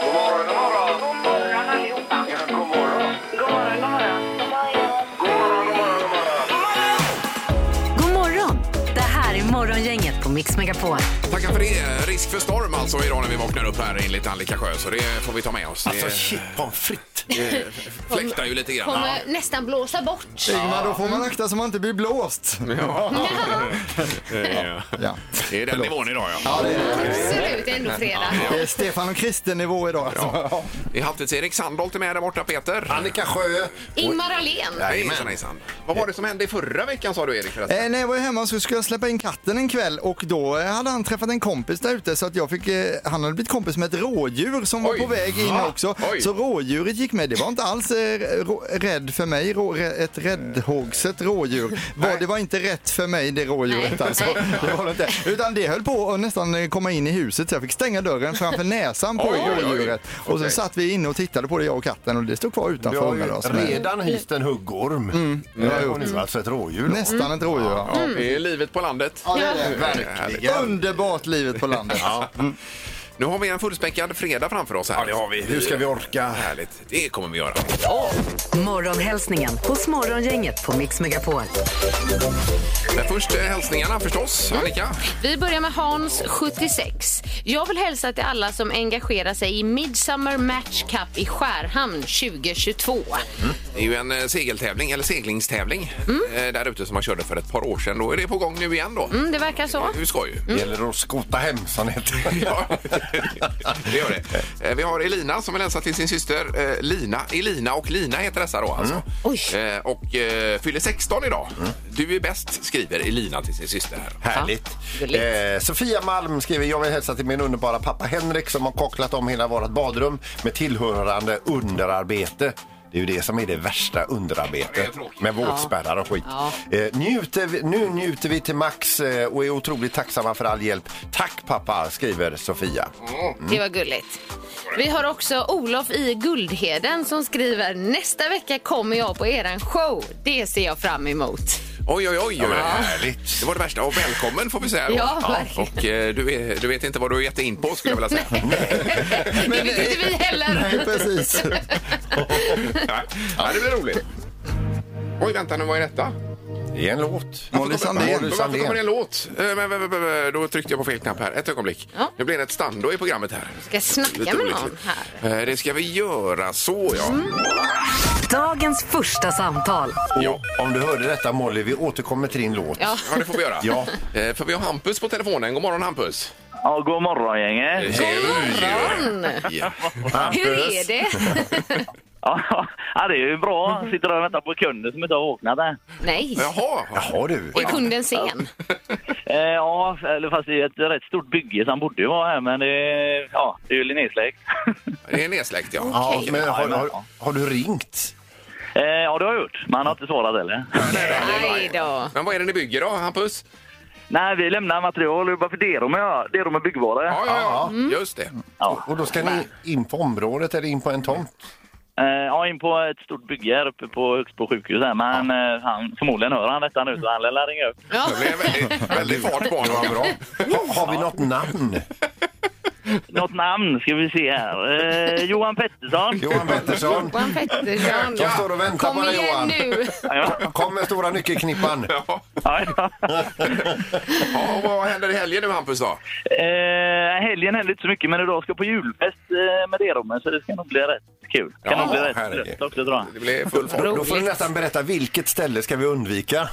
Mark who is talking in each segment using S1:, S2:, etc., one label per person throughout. S1: God morgon, god morgon. God morgon allihopa. Ja, god morgon. God morgon, god morgon.
S2: God
S1: God morgon, god morgon, god morgon.
S2: morgon! Det här är Morgongänget på Mix Megapol.
S3: Tackar för det. Risk för storm alltså idag när vi vaknar upp här enligt Annika Sjö. Så det får vi ta med oss.
S4: Alltså
S3: Det
S4: shit pommes frites.
S3: fläktar ju lite grann.
S5: Kommer nästan blåsa bort.
S6: Ingmar, då får man akta så man inte blir blåst.
S3: Eh,
S6: Ja.
S3: Det är den nivån idag ja.
S5: Absolut, det är ändå fredag.
S6: Det är Stefan och Kristen nivå idag alltså.
S3: Det är Halvtids-Erik Sandholt är med där borta Peter.
S4: Annika Sjö.
S5: Ingmar Ahlén.
S3: Hejsan hejsan. Vad var det som hände i förra veckan sa du Erik förresten?
S6: Eh, när jag var hemma så skulle jag släppa in katten en kväll och då eh, hade han träffat en kompis där ute så att jag fick, eh, han hade blivit kompis med ett rådjur som var
S3: Oj,
S6: på väg in
S3: va?
S6: också.
S3: Oj.
S6: Så rådjuret gick med. Det var inte alls eh, rå, rädd för mig, rå, rä- ett räddhågset rådjur. Var, det var inte rätt för mig det rådjuret
S5: Nej,
S6: alltså.
S5: nej.
S6: Det var det inte. Utan det höll på att nästan eh, komma in i huset så jag fick stänga dörren framför näsan på
S3: Oj, oj, oj.
S6: rådjuret. Och så
S3: Okej.
S6: satt vi inne och tittade på det jag och katten och det stod kvar
S4: Du
S6: utanför.
S4: har
S6: ungarna, alltså.
S4: ju redan hyst en
S6: Mm.
S4: huggorm. Eh, Och nu alltså ett rådjur. då.
S6: Nästan ett rådjur va?
S3: Ja, Mm. det är livet på landet.
S4: Verkligen.
S6: Underbart livet på landet.
S3: Nu har vi en fullspäckad fredag framför oss här.
S4: Ja, det har vi. Hur ska vi orka?
S3: Härligt. Det kommer vi göra.
S2: Morgonhälsningen hos Morgongänget på Mix Megapol.
S3: Men först eh, hälsningarna förstås.
S4: Mm.
S3: Annika?
S5: Vi börjar med Hans, 76. Jag vill hälsa till alla som engagerar sig i Midsummer Match Cup i Skärhamn 2022.
S3: Det är ju en eh, segeltävling, eller seglingstävling,
S4: Mm.
S3: eh, där ute som man körde för ett par år sedan. Då är det på gång nu igen då.
S5: Mm, det verkar så.
S3: Hur ska ju?
S4: Det gäller att skota hem, som heter.
S3: Ja, det gör det. Eh, Vi har Elina som vill hälsa till sin syster eh, Lina. Elina och Lina heter dessa då alltså.
S5: Mm. Oj. Mm.
S3: Eh, Och eh, fyller 16 idag. Du är bäst, skriver Elina till sin syster. här.
S4: Härligt.
S5: gulligt.
S4: Eh, Sofia Malm skriver, jag vill hälsa till min underbara pappa Henrik som har kocklat om hela vårt badrum med tillhörande underarbete. Det är ju det som är det värsta
S3: Ja, det
S4: underarbetet
S3: är tråkigt.
S4: med våtspärrar och skit. Eh, njuter vi, nu njuter vi till max eh, och är otroligt tacksamma för all hjälp. Tack pappa, skriver Sofia.
S5: Det var gulligt. Vi har också Olof i Guldheden som skriver nästa vecka kommer jag på eran show. Det ser jag fram emot.
S3: Oj, oj, oj. oj.
S4: härligt.
S3: Det var det värsta. Och välkommen får vi säga. då.
S5: Ja, verkligen.
S3: Och eh, du, är, du vet inte vad du har gett dig in på skulle jag vilja säga.
S5: det vet inte vi heller.
S6: Nej, precis.
S3: Nej. Ja, det blir roligt. Oj, vänta nu, vad är detta?
S4: Det är en låt.
S6: Molly Sandén.
S3: Men Varför kommer det en låt? Eh, men, men, men, men, Då tryckte jag på fel knapp här. Ett ögonblick.
S5: Ja.
S3: Nu blir det ett stando i programmet här.
S5: Ska snacka med någon här.
S3: här. Eh, Det ska vi göra så, ja.
S2: Dagens första samtal.
S3: Ja,
S4: Om du hörde detta Molly, vi återkommer till din låt.
S5: Ja.
S3: ja, det får vi göra.
S4: Ja.
S3: Eh, För vi har Hampus på telefonen. God morgon, Hampus.
S7: Ja, god morgon gänget.
S3: Hej. Ja.
S5: Hur är det?
S7: Ja, det är ju bra. Sitter där och väntar på kunder som inte har vaknat än.
S5: Nej,
S3: Jaha.
S4: Jaha du.
S5: är kunden sen?
S7: Eh, ja, eller fast det är ett rätt stort bygge så han borde ju vara här men det, är- ja, det är ju Linnésläkt.
S3: Det är nedsläckt, ja.
S4: Ja, men har, har, har du ringt?
S7: Eh, ja, det har jag gjort. Men han har inte svarat heller.
S5: Nej då.
S3: Men vad är det ni bygger då, Hampus?
S7: Nej, vi lämnar material och bara för Derom är, Derom är byggvara.
S3: Ja, ja, ja. Just det.
S4: Och då ska ni in på området eller in på en tomt?
S7: Eh, ja, in på ett stort bygge här uppe på Högsbo sjukhus här. Men eh, han, förmodligen hör han detta nu så han lär ringa upp.
S5: Ja.
S3: Det är väldigt, väldigt fart på honom. Bra.
S4: Ha, har vi något namn?
S7: Något namn ska vi se här. Eh, Johan Pettersson.
S4: Johan Pettersson.
S5: Johan Pettersson.
S4: De står och väntar på
S5: Kom
S4: dig
S5: igen
S4: Johan.
S5: nu.
S7: Ja,
S4: Kom med stora nyckelknippan.
S3: Ja.
S7: ja.
S3: Ja, och vad händer i helgen nu, Hampus? Då?
S7: Eh, helgen händer inte så mycket, men idag ska jag på julfest eh, med Derommen så det ska nog bli rätt kul. Kan
S3: Ja,
S7: nog bli rätt
S4: herregud.
S7: trött också tror jag.
S3: Det blir full fart.
S4: Då, då får du nästan berätta vilket ställe ska vi undvika.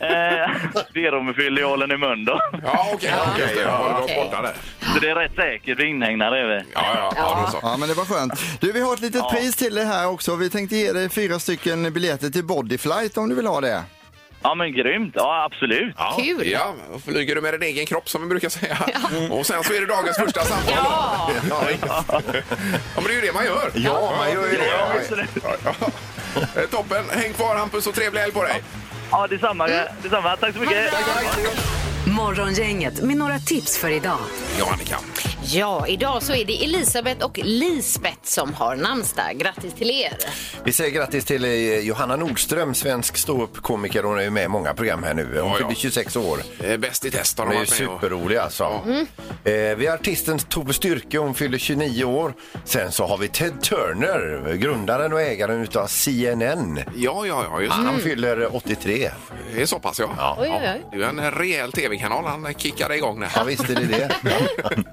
S7: Eh, Deromfilialen i Mölndal.
S3: Ja, okej. Okay, okay, ja, okay. borta där.
S7: Så det är rätt säkert vi inhägnar det. är vi.
S3: Ja, ja, ja. då så.
S6: Ja, men det var skönt. Du, vi har ett litet pris till dig här också. Vi tänkte ge dig fyra stycken biljetter till Bodyflight om du vill ha det.
S7: Ja men grymt, ja absolut.
S5: Kul.
S3: Ja, och flyger du med din egen kropp som vi brukar säga. Och sen så är det dagens första samtal.
S5: Ja.
S3: Ja, men det är ju det man gör.
S4: Ja, man gör ju
S7: Ja,
S4: det.
S7: absolut.
S3: Eh, Toppen. Häng kvar Hampus och trevlig helg på dig.
S7: ja detsamma,
S3: Mm.
S7: detsamma. Tack så mycket.
S2: Morgongänget med några tips för idag.
S3: Ja, Annika.
S5: Ja, idag så är det Elisabeth och Lisbeth som har namnsdag. Grattis till er!
S4: Vi säger grattis till eh, Johanna Nordström, svensk ståuppkomiker. Hon är ju med i många program här nu. Hon
S3: Ja, ja.
S4: fyllde 26 år.
S3: Eh, Bäst i test har
S4: Hon är
S3: de
S4: ju
S3: varit med och-
S4: superrolig alltså. Eh, vi har artisten Tove Styrke, hon fyller 29 år. Sen så har vi Ted Turner, grundaren och ägaren utav CNN.
S3: Ja, ja, ja, just
S4: Han fyller 83.
S3: det. Det är så pass, ja.
S4: Ja.
S5: Oj, oj,
S3: Det är ju en rejäl tv-kanal han kickade igång där.
S4: Ja, visst är det det.
S5: oj.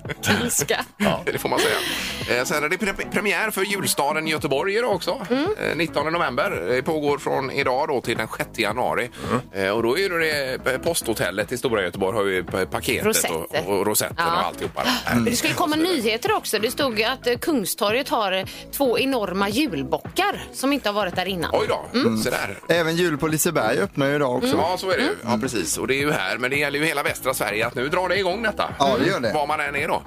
S5: Ilska.
S3: Det får man säga. Eh, Sen är det pre- premiär för julstaden i Göteborg idag också.
S5: Mm.
S3: Eh, 19 november. Det pågår från idag då till den 6 januari. Eh, Och då är det det posthotellet i Stora Göteborg har ju p- paketet och,
S5: Rosetter.
S3: och rosetten
S5: Ja. Mm.
S3: och alltihopa. där.
S5: Det skulle komma nyheter också. Det stod ju att eh, Kungstorget har eh, två enorma julbockar som inte har varit där innan.
S3: Oj då,
S5: Mm.
S3: så där.
S6: Även jul på Liseberg öppnar ju idag också.
S3: Ja, så är det ju. Ja, precis. Och det är ju här, men det gäller ju hela västra Sverige att nu drar det igång detta.
S6: Ja, det Mm. gör det.
S3: Var man än är då.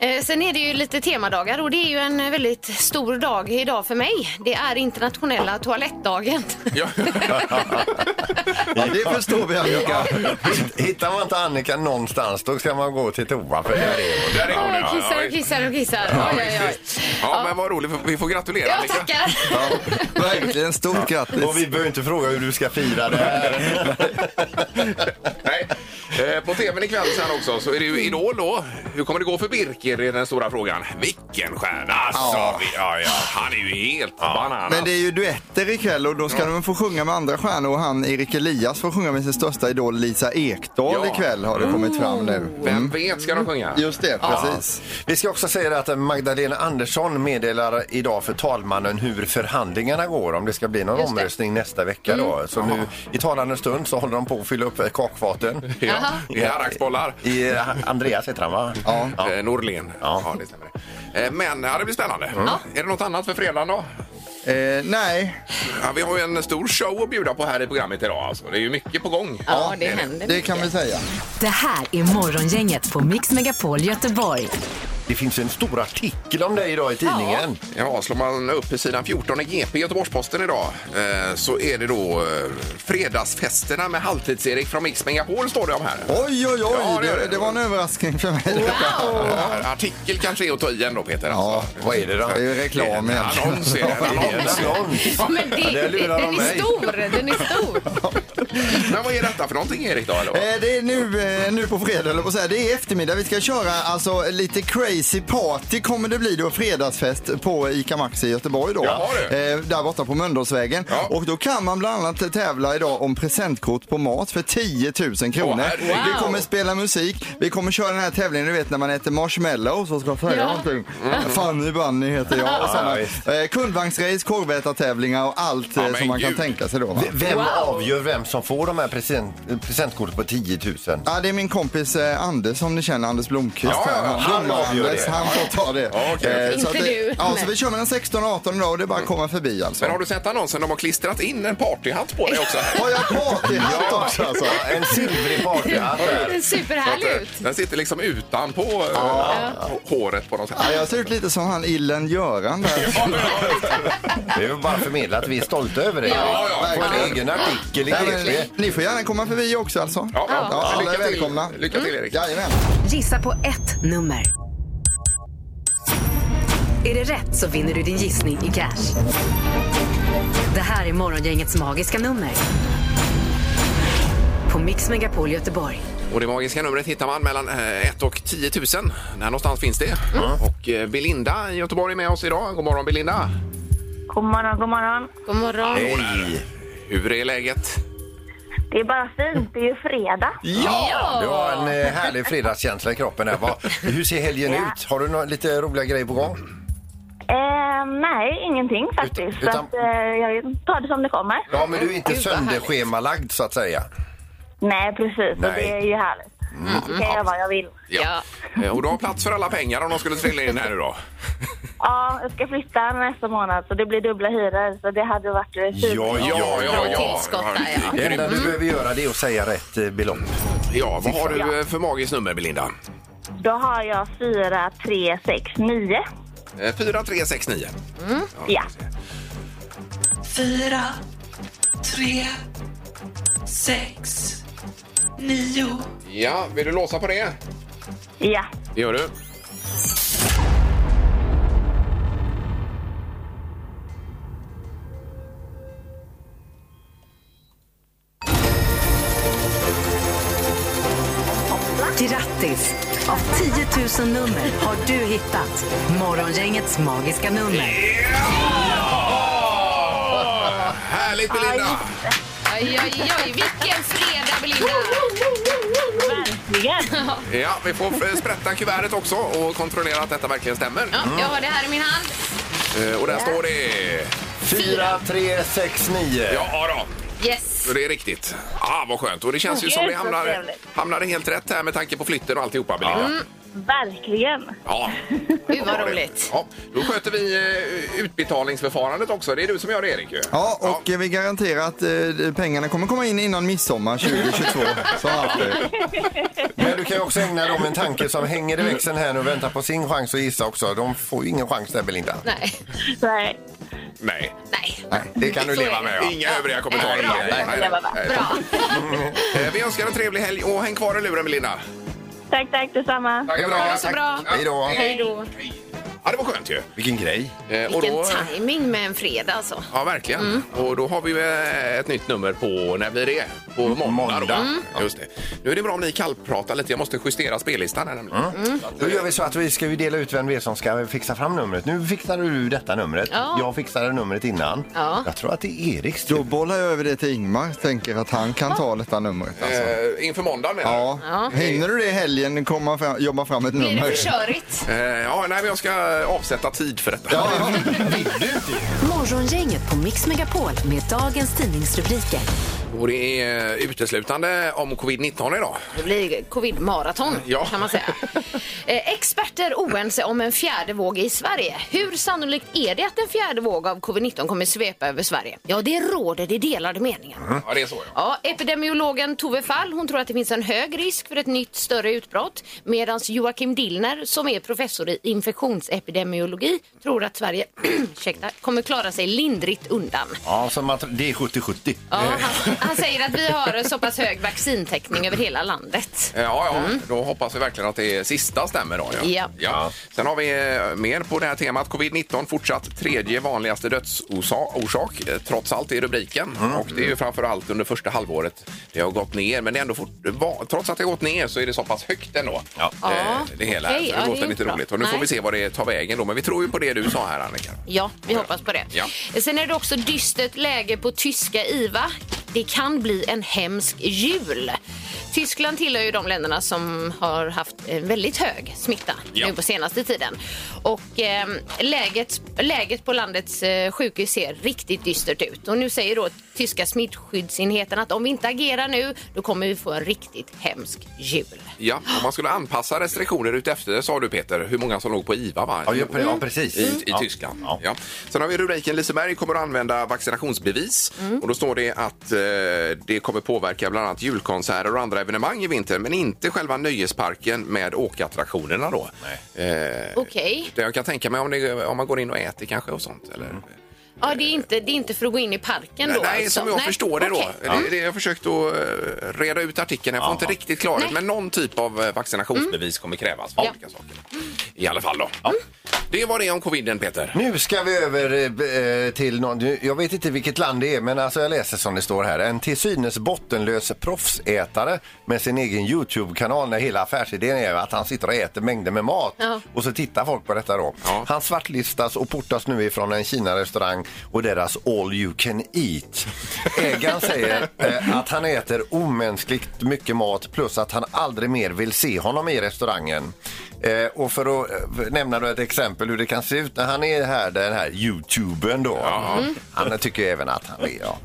S5: Eh, Sen är det ju lite temadagar och det är ju en eh, väldigt stor dag idag för mig. Det är internationella toalettdagen.
S3: Ja.
S6: Ja, det förstår vi Annika.
S4: Hittar man inte Annika någonstans då ska man gå till toa för där är hon.
S3: Där är hon,
S5: Jag
S3: ja.
S5: kissar
S3: Ja,
S5: och kissar och kissar. Oj, oj, oj.
S3: Ja, men vad roligt. Vi får gratulera.
S5: Jag
S3: Annika.
S5: tackar.
S6: Ja, verkligen, stort
S4: Och
S6: grattis.
S4: vi behöver inte fråga hur du ska fira det här.
S3: Nej. Eh, På tvn ikväll sen också så är det ju
S6: Mm.
S3: Idol då. Hur kommer det gå för Birker i den stora frågan? Vilken stjärna! Alltså,
S6: Ja.
S3: vi- ja, ja. Han är ju helt bananas.
S6: Men det är ju duetter ikväll och då ska de få sjunga med andra stjärnor och han Erik Elias får sjunga med sin största idol Lisa Ekdahl
S3: Ja. Mm.
S6: ikväll har det kommit fram nu.
S3: Vem vet ska de sjunga?
S6: Just det, precis.
S4: Vi ska också säga det att Magdalena Andersson meddelar idag för talmannen hur förhandlingarna går om det ska bli någon
S5: Just det. Mm.
S4: omröstning nästa vecka. Då. Så nu i talande stund så håller de på att fylla upp eh, kakfaten.
S3: Ja. Det är harraksbollar.
S4: I, eh, Andreas heter han va?
S6: Ja.
S3: Eh, Norlén. Ja. det stämmer. Eh, Men ja, det blir spännande.
S6: Mm.
S3: Är det något annat för fredagen då?
S6: Eh, nej,
S3: Ja, vi har ju en stor show att bjuda på här i programmet idag. Alltså. Det är ju mycket på gång.
S5: Ja, det händer.
S6: det kan vi säga.
S2: Det här är Morgongänget på Mix Megapol Göteborg.
S4: Det finns en stor artikel om dig idag i tidningen.
S3: Ja, slår man upp på sidan 14 i GP Göteborgs-Posten idag eh, så är det då eh, fredagsfesterna med Halvtids-Erik från Mix Megapol står det om här.
S6: Oj, oj,
S3: Ja,
S6: oj,
S3: det gör
S6: det,
S3: det.
S6: det var en överraskning för mig.
S3: Ja, Artikel kanske är att ta i ändå Peter. alltså.
S6: Ja,
S4: Vad är det då?
S6: det är ju reklam
S3: En
S6: egentligen.
S3: annons är det. En
S4: Det är en
S3: annons.
S4: annons.
S5: Men det,
S4: det lurar de
S5: den är
S4: mig.
S5: stor. Den är stor.
S3: Men vad är detta för någonting Erik då? Eller?
S6: Eh, Det är nu, eh, nu på fredag, eller på att säga. Det är eftermiddag. Vi ska köra alltså lite crazy party kommer det bli då. Fredagsfest på ICA Maxi i Göteborg då.
S3: Jaha, du.
S6: Eh, Där borta på Mölndalsvägen.
S3: Ja.
S6: Och då kan man bland annat tävla idag om presentkort på mat för 10 000
S3: Åh,
S6: kronor.
S3: herregud.
S6: Vi kommer spela musik. Vi kommer köra den här tävlingen, du vet när man äter marshmallows och ska säga
S5: Ja.
S6: någonting. Mm. Fanny Bunny heter jag och sådana. Eh, Kundvagnsrace, korvätartävlingar och allt eh,
S3: Ja, men
S6: som man
S3: gud.
S6: kan tänka sig då. Va?
S4: Vem
S5: Wow.
S4: avgör vem som får de här present, presentkorten på 10 000?
S6: Ja, det är min kompis eh, Anders som ni känner, Anders Blomqvist.
S3: Ja, ja, ja.
S6: Han- han,
S3: Han
S4: avgör
S6: Anders,
S4: det.
S6: han får ta det. Eh,
S3: Ja, okej, okej.
S6: så
S5: Inte
S6: att det-
S5: du.
S6: Ja, så vi kör mellan 16 och 18 idag och det är bara att komma förbi alltså.
S3: Men har du sett annonsen? De har klistrat in en partyhatt på dig också.
S6: Har jag partyhatt också alltså?
S4: Ja, En silvrig partyhatt.
S5: Den är superhärlig ut.
S3: Den sitter liksom utanpå eh, håret på något sätt.
S6: Ja, jag ser ut lite som han Illen-Göran där.
S4: Det är väl bara att förmedla att vi är stolta över det.
S3: Ja, ja,
S4: Få en
S3: verkligen.
S4: egen artikel i
S6: Nej,
S4: GP.
S6: men, ni får gärna komma förbi också alltså.
S3: Ja, ja. Mm.
S6: alla
S3: Lycka
S6: är
S3: till.
S6: välkomna.
S3: Lycka till, Erik.
S6: Jajamän.
S2: Gissa på ett nummer. Är det rätt så vinner du din gissning i cash. Det här är Morgongängets magiska nummer. På Mix Megapol Göteborg.
S3: Och det magiska numret hittar man mellan 1 och 10 000. Där någonstans finns det. Och eh, Belinda i Göteborg är med oss idag. God morgon Belinda!
S8: God morgon, god morgon.
S5: God morgon.
S4: Hej!
S3: Hur är läget?
S8: Det är bara fint, det är ju fredag.
S4: Ja, du har en eh, härlig fredagskänsla i kroppen. Här. Vad- Hur ser helgen ut? Har du några lite roliga grejer på gång?
S8: Eh, nej, ingenting faktiskt.
S4: utan-
S8: Så att, eh, jag tar det som det kommer.
S4: Ja, men du är inte sönderschemalagd så att säga.
S8: Nej, precis. Och
S4: Nej. Mm.
S8: det är ju härligt. Då kan jag vad jag vill.
S5: Ja.
S3: Eh, Och du har plats för alla pengar om de skulle trilla in här nu då.
S8: Ja, jag ska flytta nästa månad så det blir dubbla hyror. Så det hade varit eh, fint.
S5: Bra tillskott där, ja.
S4: Det enda du behöver göra det är att säga rätt eh, belopp.
S3: Ja, vad har du eh, för magiskt nummer, Belinda?
S8: Då har jag 4, 3, 6, 9.
S3: Eh, 4369.
S8: Ja.
S9: fyra, tre, sex, nio.
S3: Ja, vill du låsa på det?
S8: Ja.
S3: Det gör du.
S2: Grattis! Av 10 000 nummer har du hittat Morgongängets magiska nummer.
S3: Åh, Härligt Belinda!
S5: Oj, oj, oj, vilken fredag Belinda!
S8: Verkligen.
S3: Ja, vi får eh, sprätta kuvertet också och kontrollera att detta verkligen stämmer.
S5: Ja, jag har det här i min hand.
S3: Eh, Och där står det...
S4: 4, 3, 6, 9.
S3: Ja, ja då.
S5: Yes.
S3: Så det är riktigt. Ah, vad skönt. Och det känns ju som vi hamnar, hamnade helt rätt här med tanke på flytten och alltihopa, Belinda.
S5: Mm.
S8: Verkligen.
S3: Ja.
S5: Gud vad
S3: bra det.
S5: roligt.
S3: Ja, då sköter vi eh, utbetalningsförfarandet också. Det är du som gör det, Erik. Ju.
S6: Ja, och eh, vi garanterar att eh, pengarna kommer komma in innan midsommar 2022. Så alltid.
S4: Men du kan ju också ägna dem en tanke som hänger i växeln här nu och väntar på sin chans att gissa också. De får ju ingen chans där, Belinda.
S5: Nej,
S8: Nej.
S3: Nej,
S5: nej.
S4: Nej, det kan du
S5: Så är
S4: leva
S5: det.
S4: med. Ja.
S3: inga övriga kommentarer.
S5: Bra,
S3: Nej, nej, nej.
S8: bra, bra.
S5: Bra.
S3: Eh, Vi önskar en trevlig helg och häng kvar i luren, Belinda.
S8: Tack, tack detsamma.
S3: Tack
S5: Ha det så bra.
S4: Hej då.
S5: Hej då.
S3: Ja, det var skönt ju.
S4: Vilken grej.
S3: Eh, Och
S5: Vilken
S3: då,
S5: timing med en fredag alltså.
S3: ja, verkligen.
S4: Mm.
S3: Och då har vi ju eh, ett nytt nummer på, när blir det? På måndag. då.
S4: Måndag. Mm.
S3: Just det. Nu är det bra om ni kallpratar lite. Jag måste justera spellistan här nämligen.
S4: Då gör vi så att vi ska ju dela ut vem det är som ska fixa fram numret. Nu fixar du detta numret.
S5: Ja.
S4: Jag fixade numret innan.
S5: Ja.
S4: Jag tror att det är Eriks
S6: Då bollar jag över det till Ingmar. Tänker att han kan ta detta numret. Alltså.
S3: Eh, inför måndagen menar du?
S6: Ja. Hinner du det i helgen komma fram, jobba fram ett
S5: Blir det
S6: nummer?
S5: för körigt?
S3: Eh, ja, nej, men jag ska avsätta tid för detta.
S2: Morgongänget på Mix Megapol med dagens tidningsrubriker.
S3: Och det är eh, uteslutande om covid-19 idag.
S5: Det blir covid-maraton
S3: Ja.
S5: kan man säga. Eh, Experter oense om en fjärde våg i Sverige. Hur sannolikt är det att en fjärde våg av covid-19 kommer svepa över Sverige? Ja, det råder det delade meningar.
S4: Mm.
S3: Ja, det är så. Ja.
S5: Ja, epidemiologen Tove Fall hon tror att det finns en hög risk för ett nytt större utbrott medan Joakim Dillner, som är professor i infektionsepidemiologi, tror att Sverige ursäkta, kommer klara sig lindrigt undan.
S4: Ja, som att det är 70-70.
S5: Ja, han, han säger att vi har så pass hög vaccintäckning över hela landet.
S3: Eh, Ja, ja. då hoppas vi verkligen att det sista stämmer. Då, ja.
S5: Mm. Ja.
S3: Sen har vi eh, mer på det här temat. Covid-19 fortsatt tredje vanligaste dödsorsak, eh, trots allt, i rubriken. Och det är ju framför allt under första halvåret det har gått ner. Men det är ändå fort, va, trots att det har gått ner så är det så pass högt ändå. Ja.
S5: Ja.
S3: Det hela.
S5: Okej,
S3: så
S5: ja,
S3: det
S5: det
S3: låter
S5: är
S3: inte
S5: bra.
S3: roligt. Och nu får
S5: Nej.
S3: vi se vad det tar vägen då. Men vi tror ju på det du sa här, Annika.
S5: Ja, vi hoppas på det.
S3: Ja.
S5: Sen är det också dystert läge på tyska IVA. Det kan bli en hemsk jul. Tyskland tillhör ju de länderna som har haft en väldigt hög smitta
S3: Ja.
S5: nu på senaste tiden. Och eh, läget, läget på landets eh, sjukhus ser riktigt dystert ut. Och nu säger då tyska smittskyddsenheten att om vi inte agerar nu, då kommer vi få en riktigt hemsk jul.
S3: Ja, om man skulle anpassa restriktioner utefter, sa du Peter, hur många som låg på IVA va?
S4: Ja, ja, pre- ja, precis.
S5: Mm.
S3: I, i
S4: Ja.
S3: Tyskland. Ja.
S4: Ja.
S3: Sen har vi rubriken Liseberg kommer att använda vaccinationsbevis.
S5: Mm.
S3: Och då står det att eh, det kommer påverka bland annat julkonserter och andra evenemang i vinter, men inte själva nöjesparken med åkattraktionerna då. Eh,
S5: Okej.
S3: det jag kan tänka mig om, det, om man går in och äter kanske och sånt. Eller?
S4: Mm.
S5: Ja, det är, inte, det är inte för att gå in i parken
S3: Nej,
S5: då?
S3: nej,
S5: alltså.
S3: som jag
S5: Nej,
S3: förstår det då.
S5: okej.
S3: Det, det, jag har försökt att eh, reda ut artikeln. Jag får inte riktigt klarhet, men någon typ av eh, vaccinationsbevis kommer krävas för
S5: Mm. Ja.
S3: olika saker. I alla fall då. Det var det om coviden, Peter.
S4: Nu ska vi över eh, b- eh, till någon, nu- jag vet inte vilket land det är, men alltså jag läser som det står här. En till synes bottenlös proffsätare med sin egen Youtube-kanal när hela affärsidén är att han sitter och äter mängder med mat.
S5: Ja.
S4: Och så tittar folk på detta då.
S3: Ja.
S4: Han svartlistas och portas nu ifrån en Kina-restaurang och deras all you can eat. Ägaren säger eh, att han äter omänskligt mycket mat plus att han aldrig mer vill se honom i restaurangen. Eh, och för att eh, nämna då ett exempel hur det kan se ut när han är här, den här youtubern då. Mm. Han tycker även att han är, ja.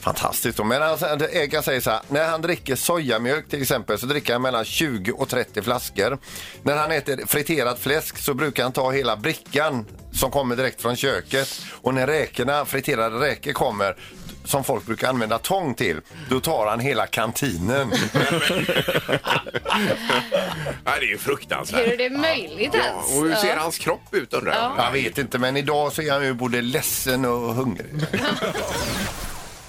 S4: Fantastiskt. Men alltså, ägaren säger så här, när han dricker sojamjölk till exempel så dricker han mellan 20 och 30 flaskor. När han äter friterad fläsk så brukar han ta hela brickan som kommer direkt från köket. Och när räkorna, friterade räkor kommer som folk brukar använda tång till, då tar han hela kantinen.
S3: Nej, det är ju fruktansvärt.
S5: Hur är det möjligt
S3: Ja,
S5: ens?
S3: och hur ser
S5: Ja.
S3: hans kropp ut undrar jag?
S4: Jag vet inte, men idag så är han ju både ledsen och hungrig.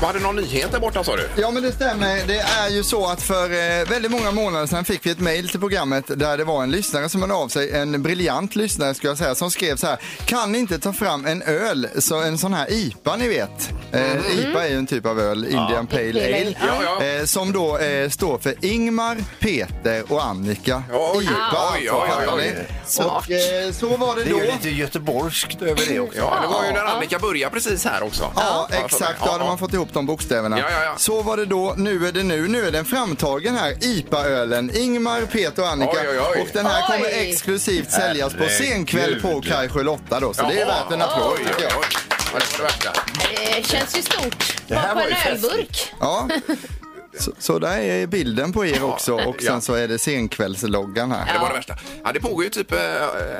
S3: Du hade någon nyhet där borta sa du?
S6: Ja men det stämmer. Det är ju så att för eh, väldigt många månader sedan fick vi ett mejl till programmet där det var en lyssnare som hörde av sig, en briljant lyssnare skulle jag säga, som skrev så här. Kan ni inte ta fram en öl, så en sån här IPA ni vet. Eh, IPA är ju en typ av öl, Indian Pale
S5: Pale
S6: Ale.
S5: Ale,
S3: ja.
S6: Eh, som då eh, står för Ingmar, Peter och Annika.
S3: Oj, oj, oj,
S6: fattar
S3: oj.
S6: ni? Och eh, så var det
S4: Det är ju
S6: då.
S4: lite göteborgskt över det också.
S3: Ja, det var ju när Annika började precis här också.
S6: Ja,
S3: jag får mig.
S6: exakt. Då hade
S3: Ja,
S6: man fått ihop de bokstäverna.
S3: Ja, ja, ja.
S6: Så var det då. Nu är det nu. Nu är den framtagen här, IPA-ölen. Ingmar, Peter och Annika.
S3: Oj, oj, oj.
S6: Och den här
S5: Oj.
S6: kommer exklusivt säljas på scenkväll på
S4: Herregud.
S6: Kajsjö Lotta då. Så det är
S3: Jaha.
S6: värt en applåd
S3: Oj,
S6: tycker jag.
S3: oj, oj. Ja, det var det värsta.
S5: Det Eh, känns ju stort.
S4: Det här
S5: Bara på
S4: var
S5: en
S4: ju festligt.
S5: ölburk.
S6: Ja. Så, så där är bilden på er också och sen
S3: Ja.
S6: så är det scenkvällsloggan här.
S3: Det var det värsta. Ja, det pågår ju typ, eh,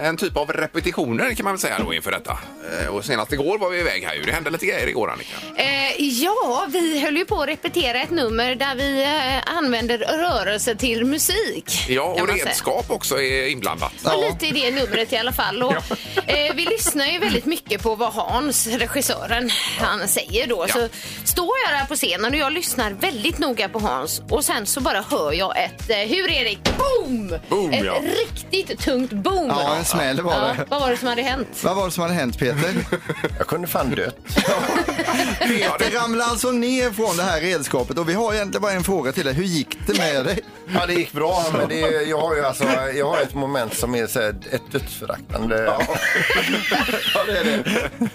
S3: en typ av repetitioner kan man väl säga då inför detta. Eh, Och senast igår var vi iväg här ju. Det hände lite grejer igår Annika.
S5: Eh, ja, vi höll ju på att repetera ett nummer där vi eh, använder rörelse till musik.
S3: Ja,
S5: kan
S3: och
S5: man säga.
S3: redskap också är inblandat.
S5: Det var lite i det numret i alla fall. Och, eh, vi lyssnar ju väldigt mycket på vad Hans, regissören, han säger då.
S3: Ja.
S5: Så står jag där på scenen och jag lyssnar väldigt noga på Hans och sen så bara hör jag ett, eh, hur Erik? Boom!
S3: Boom,
S5: ett
S3: ja.
S5: riktigt tungt boom.
S6: Ja, en smäll var
S5: Ja,
S6: det.
S5: vad var det som hade hänt?
S6: Vad var det som hade hänt Peter?
S4: Jag kunde fan dött.
S3: Ja,
S6: Det ramlade alltså ner från det här redskapet och vi har egentligen bara en fråga till dig. Hur gick det med dig?
S4: Ja, det gick bra, men det är, jag har ju alltså, jag har ett moment som är så här, ett dödsföraktande.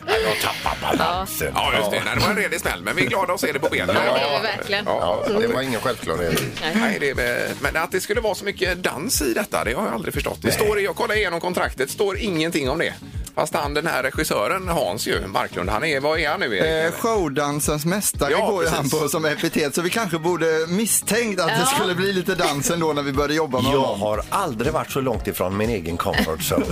S3: jag tappar balansen. Ja, just det. Nej, det var en redig smäll, men vi är glada att se det på benen.
S5: Ja, det är vi verkligen.
S4: Ja, det var ingen självklarhet.
S3: Nej, det är, men att det skulle vara så mycket dans i detta, det har jag aldrig förstått. Det står, i- jag kollar igenom kontraktet, står ingenting om det. Fast han, den här regissören, Hans ju, Marklund, han är, vad är han nu? Erik?
S6: Eh, showdansens mästare
S3: Ja,
S6: går ju han
S3: precis.
S6: på som epitet så vi kanske borde misstänkt att det skulle bli lite dans ändå när vi började jobba med
S4: Jag
S6: honom.
S4: har aldrig varit så långt ifrån min egen comfort zone.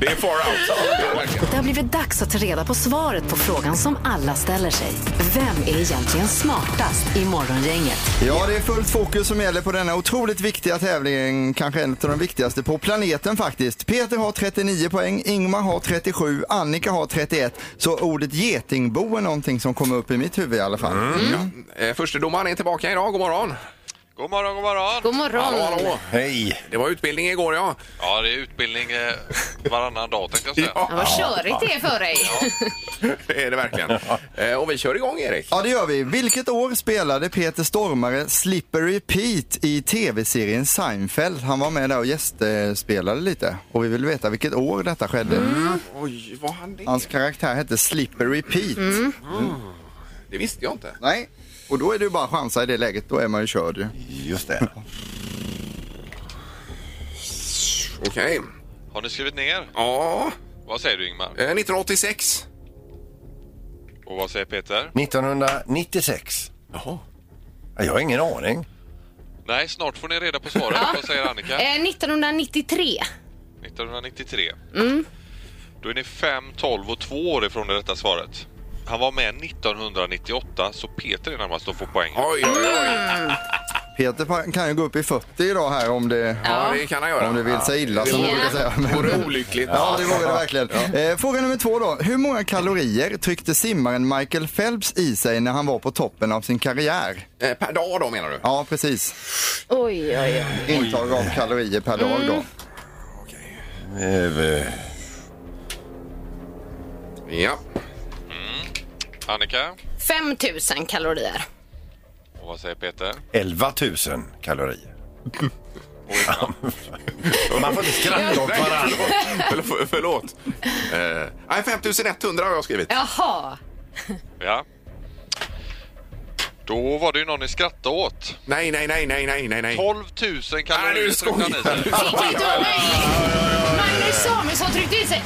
S3: det är far out. Ja, verkligen.
S2: Det har blivit dags att ta reda på svaret på frågan som alla ställer sig. Vem är egentligen smartast i Morgongänget?
S6: Ja, det är fullt fokus som gäller på denna otroligt viktiga tävling, kanske en av de viktigaste på planeten faktiskt. Peter har 39 poäng, Ingmar har 37, Annika har 31. Så ordet getingbo är någonting som kommer upp i mitt huvud i alla fall.
S3: Eh, Förstedomaren är tillbaka idag, god morgon.
S10: God morgon, god morgon.
S5: God morgon.
S3: Hallå, hallå.
S4: Hej!
S3: Det var utbildning igår ja.
S10: Ja, det är utbildning eh, varannan dag tänkte jag säga.
S5: Ja, vad körigt det är för dig.
S3: Det är det verkligen. Eh, Och vi kör igång Erik.
S6: Ja, det gör vi. Vilket år spelade Peter Stormare Slippery Pete i tv-serien Seinfeld? Han var med där och gästspelade lite. Och vi vill veta vilket år detta skedde.
S3: Oj, vad han det?
S6: Hans karaktär hette Slippery Pete.
S3: Det visste jag inte.
S6: Nej, och då är det ju bara att chansa i det läget. Då är man ju körd ju.
S4: Just det.
S3: Okej.
S10: Har ni skrivit ner?
S3: Ja,
S10: Vad säger du Ingmar?
S3: eh, 1986.
S10: Och vad säger Peter?
S4: 1996.
S3: Jaha.
S4: Ja, Jag har ingen aning.
S10: Nej, snart får ni reda på svaret. Vad säger Annika?
S5: Eh, 1993.
S10: 1993. Då är ni 5, 12 och 2 år ifrån det rätta svaret. Han var med 1998, så Peter är närmast att få poäng.
S3: Oj, oj, oj.
S6: Peter pa- kan ju gå upp i 40 idag här om det,
S3: Ja, det kan han göra.
S6: om det vill sig illa som man brukar säga.
S3: Det
S6: Men-
S3: vore olyckligt.
S6: Ja, det vore det verkligen. Eh, fråga nummer två då. Hur många kalorier tryckte simmaren Michael Phelps i sig när han var på toppen av sin karriär?
S3: Eh, Per dag då menar du?
S6: Ja, precis.
S5: Oj, oj, oj.
S6: intag av kalorier per dag då.
S4: Eh,
S3: Ja.
S10: Annika?
S5: 5000 kalorier.
S10: Och vad säger Peter?
S4: 11 000 kalorier. Man får inte skratta åt varandra.
S3: Förl- Förlåt. Eh, Nej, 5100 har jag skrivit.
S5: Jaha.
S10: Ja. Då var det ju någon ni skrattade åt.
S3: Nej, nej, nej, nej, nej, nej, nej.
S10: 12 000
S3: Nej,
S10: kalorier
S3: du
S10: tryckte han i sig.
S3: skojar.
S5: Fick inte vara med. Magnus Samuelsson tryckte i sig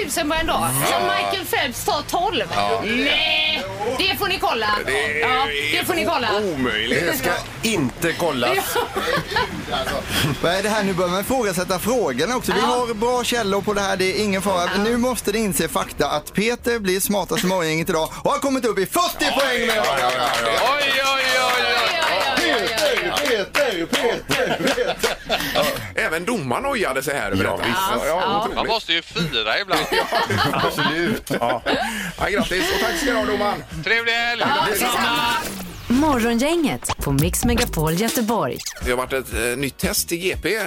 S5: 8000 på en dag. Så Michael Phelps tar 12. Nej, det får ni kolla.
S3: Det är Oh.
S5: ja, det får ni kolla.
S3: omöjligt.
S4: Det ska inte kollas.
S6: Vad är det här? Nu börjar man ifrågasätta frågorna också. Vi har bra källor på det här, det är ingen fara. Nu måste ni inse fakta att Peter blir smartast i morgongänget idag och har kommit upp i 40 poäng med
S3: Ja, ja, ja, ja.
S10: Oj, oj, oj, oj!
S5: Oj, oj, oj, oj, oj.
S6: Peter, Peter, Peter.
S3: även domaren ojade sig här över
S4: Ja,
S3: detta.
S4: visst.
S3: Ja,
S5: Ja.
S3: ja,
S10: Man
S3: otroligt.
S10: måste ju fira ibland.
S4: Absolut. Ja.
S3: ja, grattis och tack ska du ha domaren.
S10: Trevlig helg!
S2: Morgongänget på Mix Megapol Göteborg.
S3: Det har varit ett eh, nytt test i GP.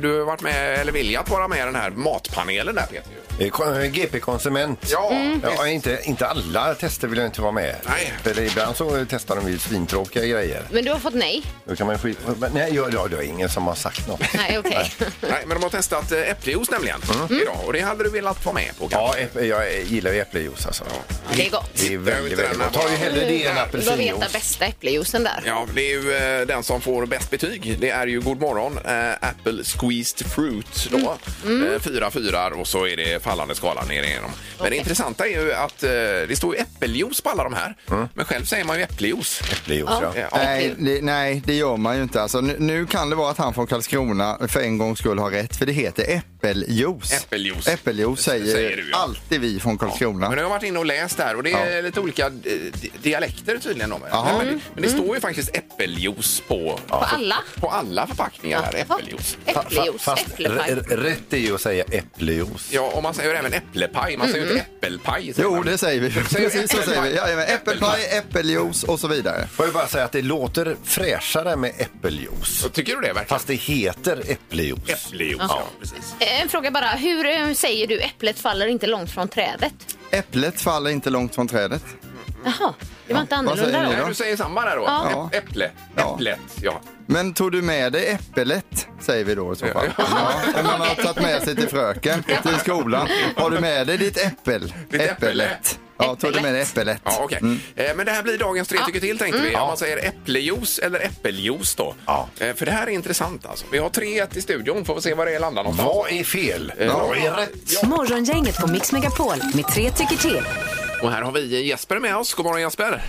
S3: Du har varit med, eller viljat vara med i den här matpanelen där Peter.
S4: Eh, kon- eh, GP-konsument.
S3: Ja,
S4: Ja, inte, inte alla tester vill jag inte vara med.
S3: Nej.
S4: För ibland så testar de ju svintråkiga grejer.
S5: Men du har fått nej?
S4: Då kan man skit... Men Nej, jag, jag, det är ingen som har sagt något.
S5: Nej, okej.
S3: Nej, men de har testat eh, äpplejuice nämligen idag och det hade du velat vara med på
S4: Ja,
S3: kanske?
S4: äpp- jag gillar ju äpplejuice alltså.
S5: Det är gott.
S4: Det är
S3: Jag vet
S4: väldigt,
S3: inte,
S4: väldigt
S3: den här
S4: gott. Tar ju hellre det än
S5: Du bör veta
S4: apelsinjuice.
S5: bästa äpplejuicen där.
S3: Ja, det är ju eh, den som får bäst betyg. Det är ju God morgon, eh, Apple Squeezed Fruit då.
S6: Mm.
S3: Eh, fyra fyrar och så är det fallande skala ner igenom. Men det intressanta är ju att eh, det står ju äppeljuice på alla de här. Men själv säger man ju äppeljuice.
S4: Äpplejuice, ja.
S3: Eh, ja.
S6: Mm. Nej det, nej, det gör man ju inte. Alltså, nu, nu kan det vara att han från Karlskrona för en gångs skull har rätt, för det heter äppeljuice.
S3: Äppeljuice.
S6: Äppeljuice säger,
S3: Säger du, ja.
S6: alltid vi från Karlskrona.
S3: Men jag har varit inne och läst där och det är lite olika eh, di- dialekter tydligen. Om. det.
S6: Jaha. Mm.
S3: Men, det- men det står ju faktiskt äppeljuice på,
S5: På alla?
S3: på alla förpackningar. Här,
S5: Jaha.
S3: äppeljuice.
S4: Fa- fa-
S5: Äpplejuice,
S4: fast
S5: äpplepaj.
S4: r- r- rätt är ju att säga äpplejuice.
S3: Ja, och man säger även äpplepaj. Man säger ju inte äppelpaj. säger
S6: Mm, Jo,
S3: man.
S6: det säger vi. Precis så säger vi. Jajamän, äppelpaj, äppeljuice och så vidare.
S4: Får jag bara säga att det låter fräschare med äppeljuice.
S3: Tycker du det verkligen?
S4: Fast det heter äpplejuice.
S3: Äppeljuice, ja. precis.
S5: Eh, En fråga bara. Hur eh, säger du äpplet faller inte långt från trädet?
S6: Äpplet faller inte långt från trädet.
S5: Jaha, det var inte
S6: vad säger
S5: annorlunda
S6: ni
S5: då.
S3: Nej,
S6: då?
S3: du säger samma där då.
S6: Ja.
S3: Äpp- Äpple.
S6: Ja.
S3: Äpplet, ja.
S6: Men tog du med dig äppelet, säger vi då i så fall. Ja, om man har tagit med sig till fröken, till skolan. Har du med dig ditt äppel?
S3: Ditt äppele.
S6: Ja, tog du med dig äppelet?
S3: ja okej. Eh, Men det här blir dagens tre tycker till tänkte vi. Om man säger äpplejuice eller äppeljuice då.
S4: Ja.
S3: Eh, För det här är intressant alltså. Vi har 3-1 i studion, får vi se var det landar någonstans.
S4: Vad är fel? Vad är rätt?
S2: Morgongänget på Mix Megapol med tre tycker till.
S3: Och här har vi Jesper med oss. God morgon Jesper!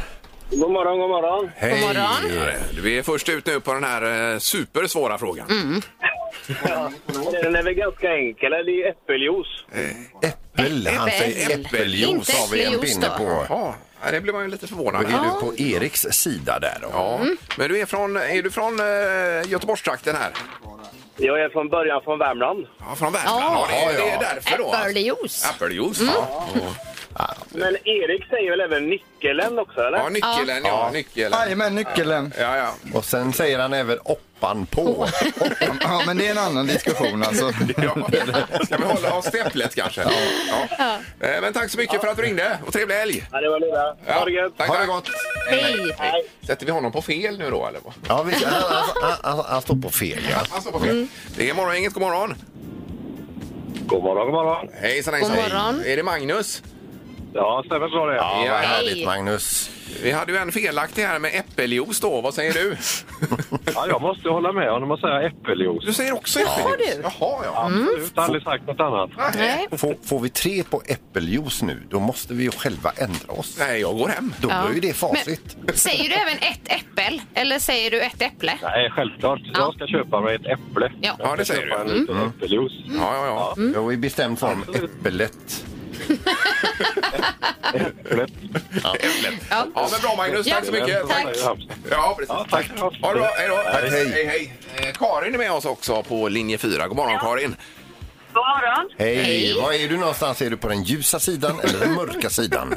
S1: God morgon, god morgon.
S4: Hej!
S5: morgon.
S3: Du är först ut nu på den här eh, supersvåra frågan.
S1: Den är väl ganska enkel, eller? Det är ju äppeljuice.
S4: Äppel. Han säger
S5: Äppel.
S4: äppeljuice
S5: Inte
S4: har vi en
S5: äppeljuice
S4: pinne
S5: då.
S4: på.
S3: Ja, det blir man ju lite förvånad
S4: Då är
S3: över.
S4: du på Eriks sida där då.
S3: Ja. Men du är från, är du från eh, Göteborgstrakten här?
S1: Jag är från början från Värmland.
S3: Ja, från Värmland.
S5: Ja.
S3: Ja, det, är- det är
S4: Ja, ja.
S3: därför då. alltså.
S5: Äppeljuice.
S3: Äppeljuice. Ja.
S1: Men Erik säger väl även nyckeln också, eller?
S3: ja, nyckeln. Ja, nyckeln.
S6: Jajamän, nyckeln.
S3: Ja, ja.
S4: Och sen säger han även oppan på.
S6: Ja, men det är en annan diskussion alltså.
S3: Ja. Ska vi hålla oss till äpplet kanske? Ja. Eh, Men tack så mycket för att du ringde och trevlig helg!
S1: Ja, det var det.
S3: Ja.
S1: Ha det gött.
S3: Tack,
S4: Ha det
S3: tack.
S4: gott!
S5: Hej!
S3: Sätter vi honom på fel nu då eller? vad?
S4: Ja, vi, han, han, han, han står på fel ja.
S3: Han står på fel. Det är morgongänget, god morgon!
S1: Mm. God morgon, god morgon.
S3: Hejsan hejsan!
S5: God morgon.
S3: Är det Magnus?
S1: Ja, stämmer så det.
S4: Ja,
S3: Ja,
S4: vad
S3: hej.
S4: härligt Magnus.
S3: Vi hade ju en felaktig här med äppeljuice då, vad säger du?
S1: Ja, jag måste hålla med honom och säga äppeljuice.
S3: Du säger också äppeljuice? Jaha ja.
S1: Absolut, aldrig sagt något annat.
S5: Nej.
S4: Får, får vi tre på äppeljuice nu, då måste vi ju själva ändra oss.
S3: Nej, jag går hem.
S4: Då
S5: Ja.
S4: är ju det facit.
S5: Säger du även ett äppel eller säger du ett äpple?
S1: Nej, självklart. Jag ska köpa mig ett äpple.
S5: Ja.
S3: Ja, det säger
S1: Köpa en
S3: du. Mm.
S1: liten äppeljuice.
S3: Ja, ja, ja.
S4: Jag är i bestämd form äppelet.
S1: Äpplet.
S3: Äpplet. Ja, men bra Magnus, tack så mycket!
S5: Tack.
S3: Ja, precis.
S1: tack.
S3: Ha det bra, hej då.
S4: Tack, hej.
S3: hej, hej. Eh, Karin är med oss också på linje 4. God morgon Karin.
S8: God morgon.
S4: Hej. Var är du någonstans? Är du på den ljusa sidan eller den mörka sidan?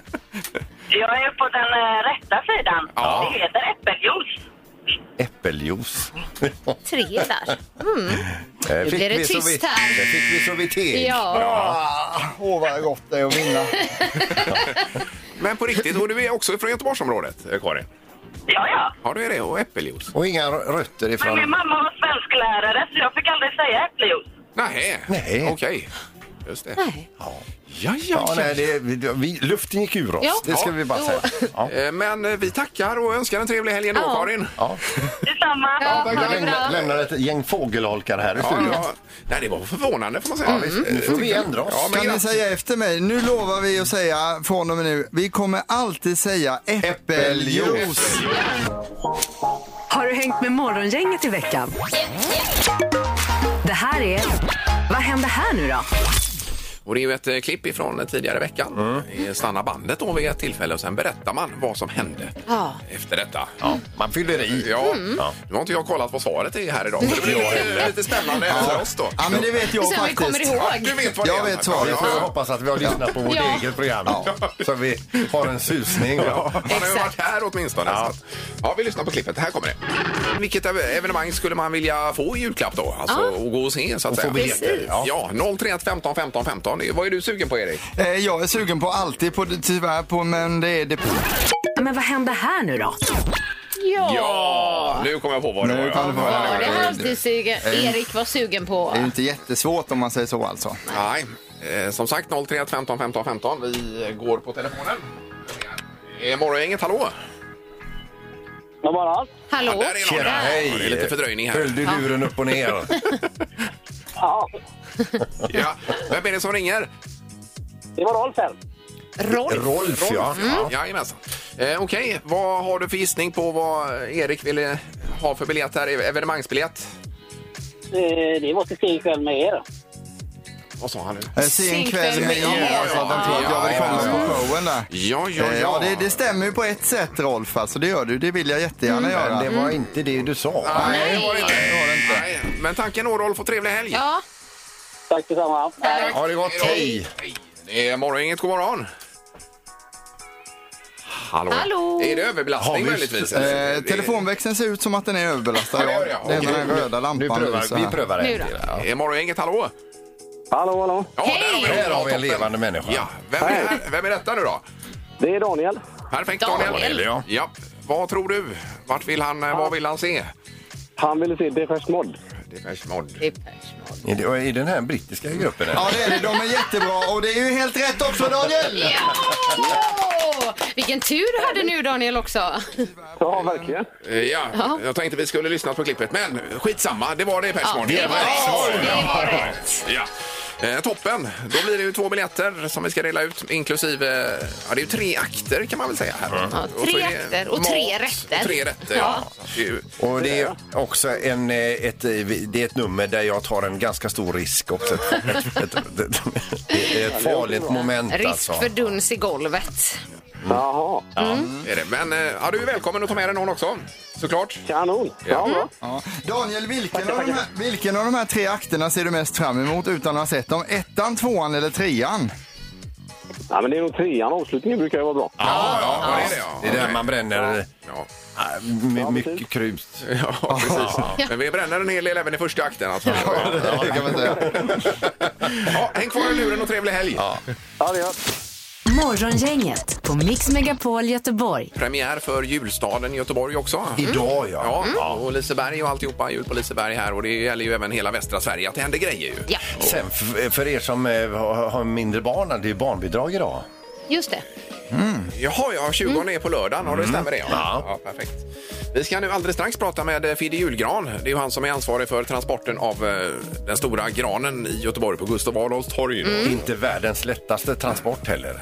S8: Jag är på den eh, rätta sidan.
S3: Ja.
S8: Det heter äppeljuice.
S4: Äppeljuice.
S5: Tre där.
S4: Nu
S5: blir det tyst här.
S4: Det fick vi så vi teg.
S5: Ja.
S6: Åh, vad gott det är att vinna.
S3: Men på riktigt, och du är också från Göteborgsområdet, eh, Karin?
S8: Ja, ja.
S3: Ja, du är det. Och äppeljuice.
S4: Och inga rö- rötter
S8: Men
S4: ifrån...
S8: min mamma var svensklärare så jag fick aldrig säga äppeljuice.
S3: Nej.
S4: Nej.
S3: Okej. Just det.
S5: Nej.
S3: Ja,
S4: Ja,
S3: ja,
S4: nej, det, vi- vi, luften gick ur oss.
S5: Ja.
S4: Det ska
S3: Ja.
S4: vi bara säga. Ja.
S3: Eh, Men eh, vi tackar och önskar en trevlig helg ändå,
S5: Ja.
S3: Karin.
S4: Ja.
S8: Detsamma.
S5: Ja, ha
S4: Vi
S5: det
S4: lämnar,
S5: bra.
S4: lämnar ett gäng fågelholkar här i
S3: Ja,
S4: studion.
S3: ja. Nej, det var förvånande får man säga. Eh,
S5: Mm.
S4: Nu får vi ändra oss.
S3: Ja, men
S6: Kan ni
S3: grattis.
S6: säga efter mig? Nu lovar vi att säga från och med nu, vi kommer alltid säga äppeljuice.
S2: Har du hängt med Morgongänget i veckan? Det här är... Vad händer här nu då?
S3: Och det är ju ett eh, klipp ifrån tidigare veckan. Mm. Stanna bandet då vid ett tillfälle och sen berättar man vad som hände
S5: Ja.
S3: efter detta.
S4: Man fyller i.
S3: Ja, nu har inte jag kollat vad svaret är här idag. men Det blir lite, lite spännande efter oss då.
S6: Ja, men det vet jag
S5: Så vi
S6: faktiskt.
S5: kommer ihåg.
S3: Ja, du vet vad det
S6: Jag
S3: är.
S6: vet svaret.
S4: Vi
S3: Ja,
S4: får
S3: ja.
S4: hoppas att vi har lyssnat på vårt
S5: Ja.
S4: eget program. Så vi har en susning.
S3: Han har ju varit
S5: Exakt.
S3: här åtminstone. Ja.
S4: Ja.
S3: Att, ja, vi lyssnar på klippet. Här kommer det. Vilket ev- evenemang skulle man vilja få i julklapp då? Alltså och gå och se så att
S4: Och få
S3: säga.
S4: biljetter.
S3: Ja,
S4: Ja.
S3: 031 15 15 15. Vad är du sugen på Erik?
S6: Eh, Jag är sugen på alltid, på, tyvärr, på, men det är... Det...
S2: Men vad hände här nu då?
S5: Ja.
S3: Nu kommer jag på vad det
S6: Nu kan
S3: var.
S6: du få
S3: ja.
S5: Ja,
S6: höra.
S5: det här alltid sugen. Erik var sugen på.
S6: Det är ju inte jättesvårt om man säger så alltså.
S3: Nej, eh, som sagt 031 15 15 15. Vi eh, går på telefonen. Är morgongänget, hallå?
S1: God morgon.
S5: Hallå?
S3: Där är någon.
S4: Tjena, hej!
S3: Ja, Det är lite fördröjning här.
S4: Höll du luren upp och ner?
S1: Ja,
S3: Ja. Vem är det som ringer?
S1: det var Rolf här.
S5: Rolf?
S4: Rolf, ja.
S3: Mm. Jajamensan. Eh, Okej, vad har du för gissning på vad Erik ville ha för biljett här? Evenemangsbiljett?
S1: Eh, Det var till se ikväll med er.
S3: Vad sa han nu?
S6: Eh, Se en kväll med er, alltså att han tror att jag vill komma på showen där.
S3: Ja, ja,
S6: Eh,
S3: ja.
S6: Ja, det, det stämmer ju på ett sätt Rolf, alltså det gör du. Det vill jag jättegärna
S3: Mm.
S6: göra.
S4: Men det var inte det du sa.
S3: Nej, det var det inte. Nej. Men tanken är Rolf och trevlig helg.
S5: Ja.
S1: Tack detsamma.
S4: Har det gått? Hej!
S3: Hej. Det är morgongänget, god morgon. Hallå.
S5: Hallå.
S3: Är det
S4: Har
S3: överbelastning
S4: vi-
S3: möjligtvis?
S6: Eh, telefonväxeln ser ut som att den är överbelastad.
S3: Ja, det
S6: Ja,
S3: gör jag.
S6: det är med
S3: Okej.
S6: den röda
S4: Nu
S6: lampan. så
S4: prövar,
S6: här.
S4: vi prövar
S5: Nu då.
S4: en till. Ja.
S3: Är morgongänget, hallå?
S1: Hallå, hallå.
S3: Ja, där har vi,
S4: Här
S3: Ja,
S4: har vi en
S3: toppen.
S4: levande människa.
S3: Ja, vem är,
S1: Hej.
S3: här? vem är detta nu då?
S1: Det är Daniel.
S3: Perfekt
S5: Daniel.
S3: Daniel.
S4: Daniel, ja.
S3: Ja. Vad tror du? Vart vill han, eh, vad vill han se?
S1: Han ville se Depeche Mode.
S3: Depeche Mode.
S5: Det är personal.
S4: Är det- och I den här brittiska gruppen? eller?
S6: Ja, det är det. De är jättebra och det är ju helt rätt också Daniel!
S5: Ja! Vilken tur du hade nu Daniel också.
S1: Ja, verkligen.
S3: Eh, Ja, jag tänkte vi skulle lyssna på klippet, men skitsamma. Det var det Depeche Mode.
S5: det var
S3: Ja,
S5: rätt. Det var rätt.
S3: Ja. Eh, toppen! Då blir det ju två biljetter som vi ska dela ut inklusive, ja det är ju tre akter kan man väl säga här.
S5: Ja,
S3: Och så
S5: tre
S3: är det
S5: akter och tre rätter.
S3: Och tre rätter, ja. Så att det är ju-
S4: Och det är också en, eh, ett, eh, vi- det är ett nummer där jag tar en ganska stor risk också. Ett, ett, ett, ett, det är ett farligt moment alltså.
S5: Risk för duns i golvet.
S1: Jaha,
S3: är det. Men eh, ja, du är välkommen att ta med dig någon också, såklart.
S1: kanon. Ja, bra.
S6: Ja. Daniel, vilken av, de här, vilken av de här tre akterna ser du mest fram emot utan att ha sett dem? Ettan, tvåan eller trean?
S1: Ja, men det är nog trean. Avslutningen brukar ju vara bra.
S3: Ja, ja, det är det. Ja.
S4: Det är där man bränner
S3: Ja.
S4: eh, my- mycket krut.
S3: Ja, precis. Men vi bränner en hel del även i första akten. Alltså.
S6: Det kan man säga.
S3: Ja, häng kvar i luren och trevlig helg!
S1: Ja, det är
S2: Morgongänget på Mix Megapol Göteborg.
S3: Premiär för julstaden i Göteborg också.
S4: Idag ja.
S3: Ja, och Liseberg och alltihopa. Jul på Liseberg här och det gäller ju även hela västra Sverige att det händer grejer ju.
S5: Ja,
S4: Sen f- för er som eh, har har mindre barn, det är ju barnbidrag idag.
S5: just det.
S3: Jaha, ja, 20 är på lördagen. Har det stämmer det? Ja. ja, perfekt. Vi ska nu alldeles strax prata med eh, Fidde Julgran. Det är ju han som är ansvarig för transporten av eh, den stora granen i Göteborg på Gustav Adolfs torg.
S4: Inte världens lättaste transport heller.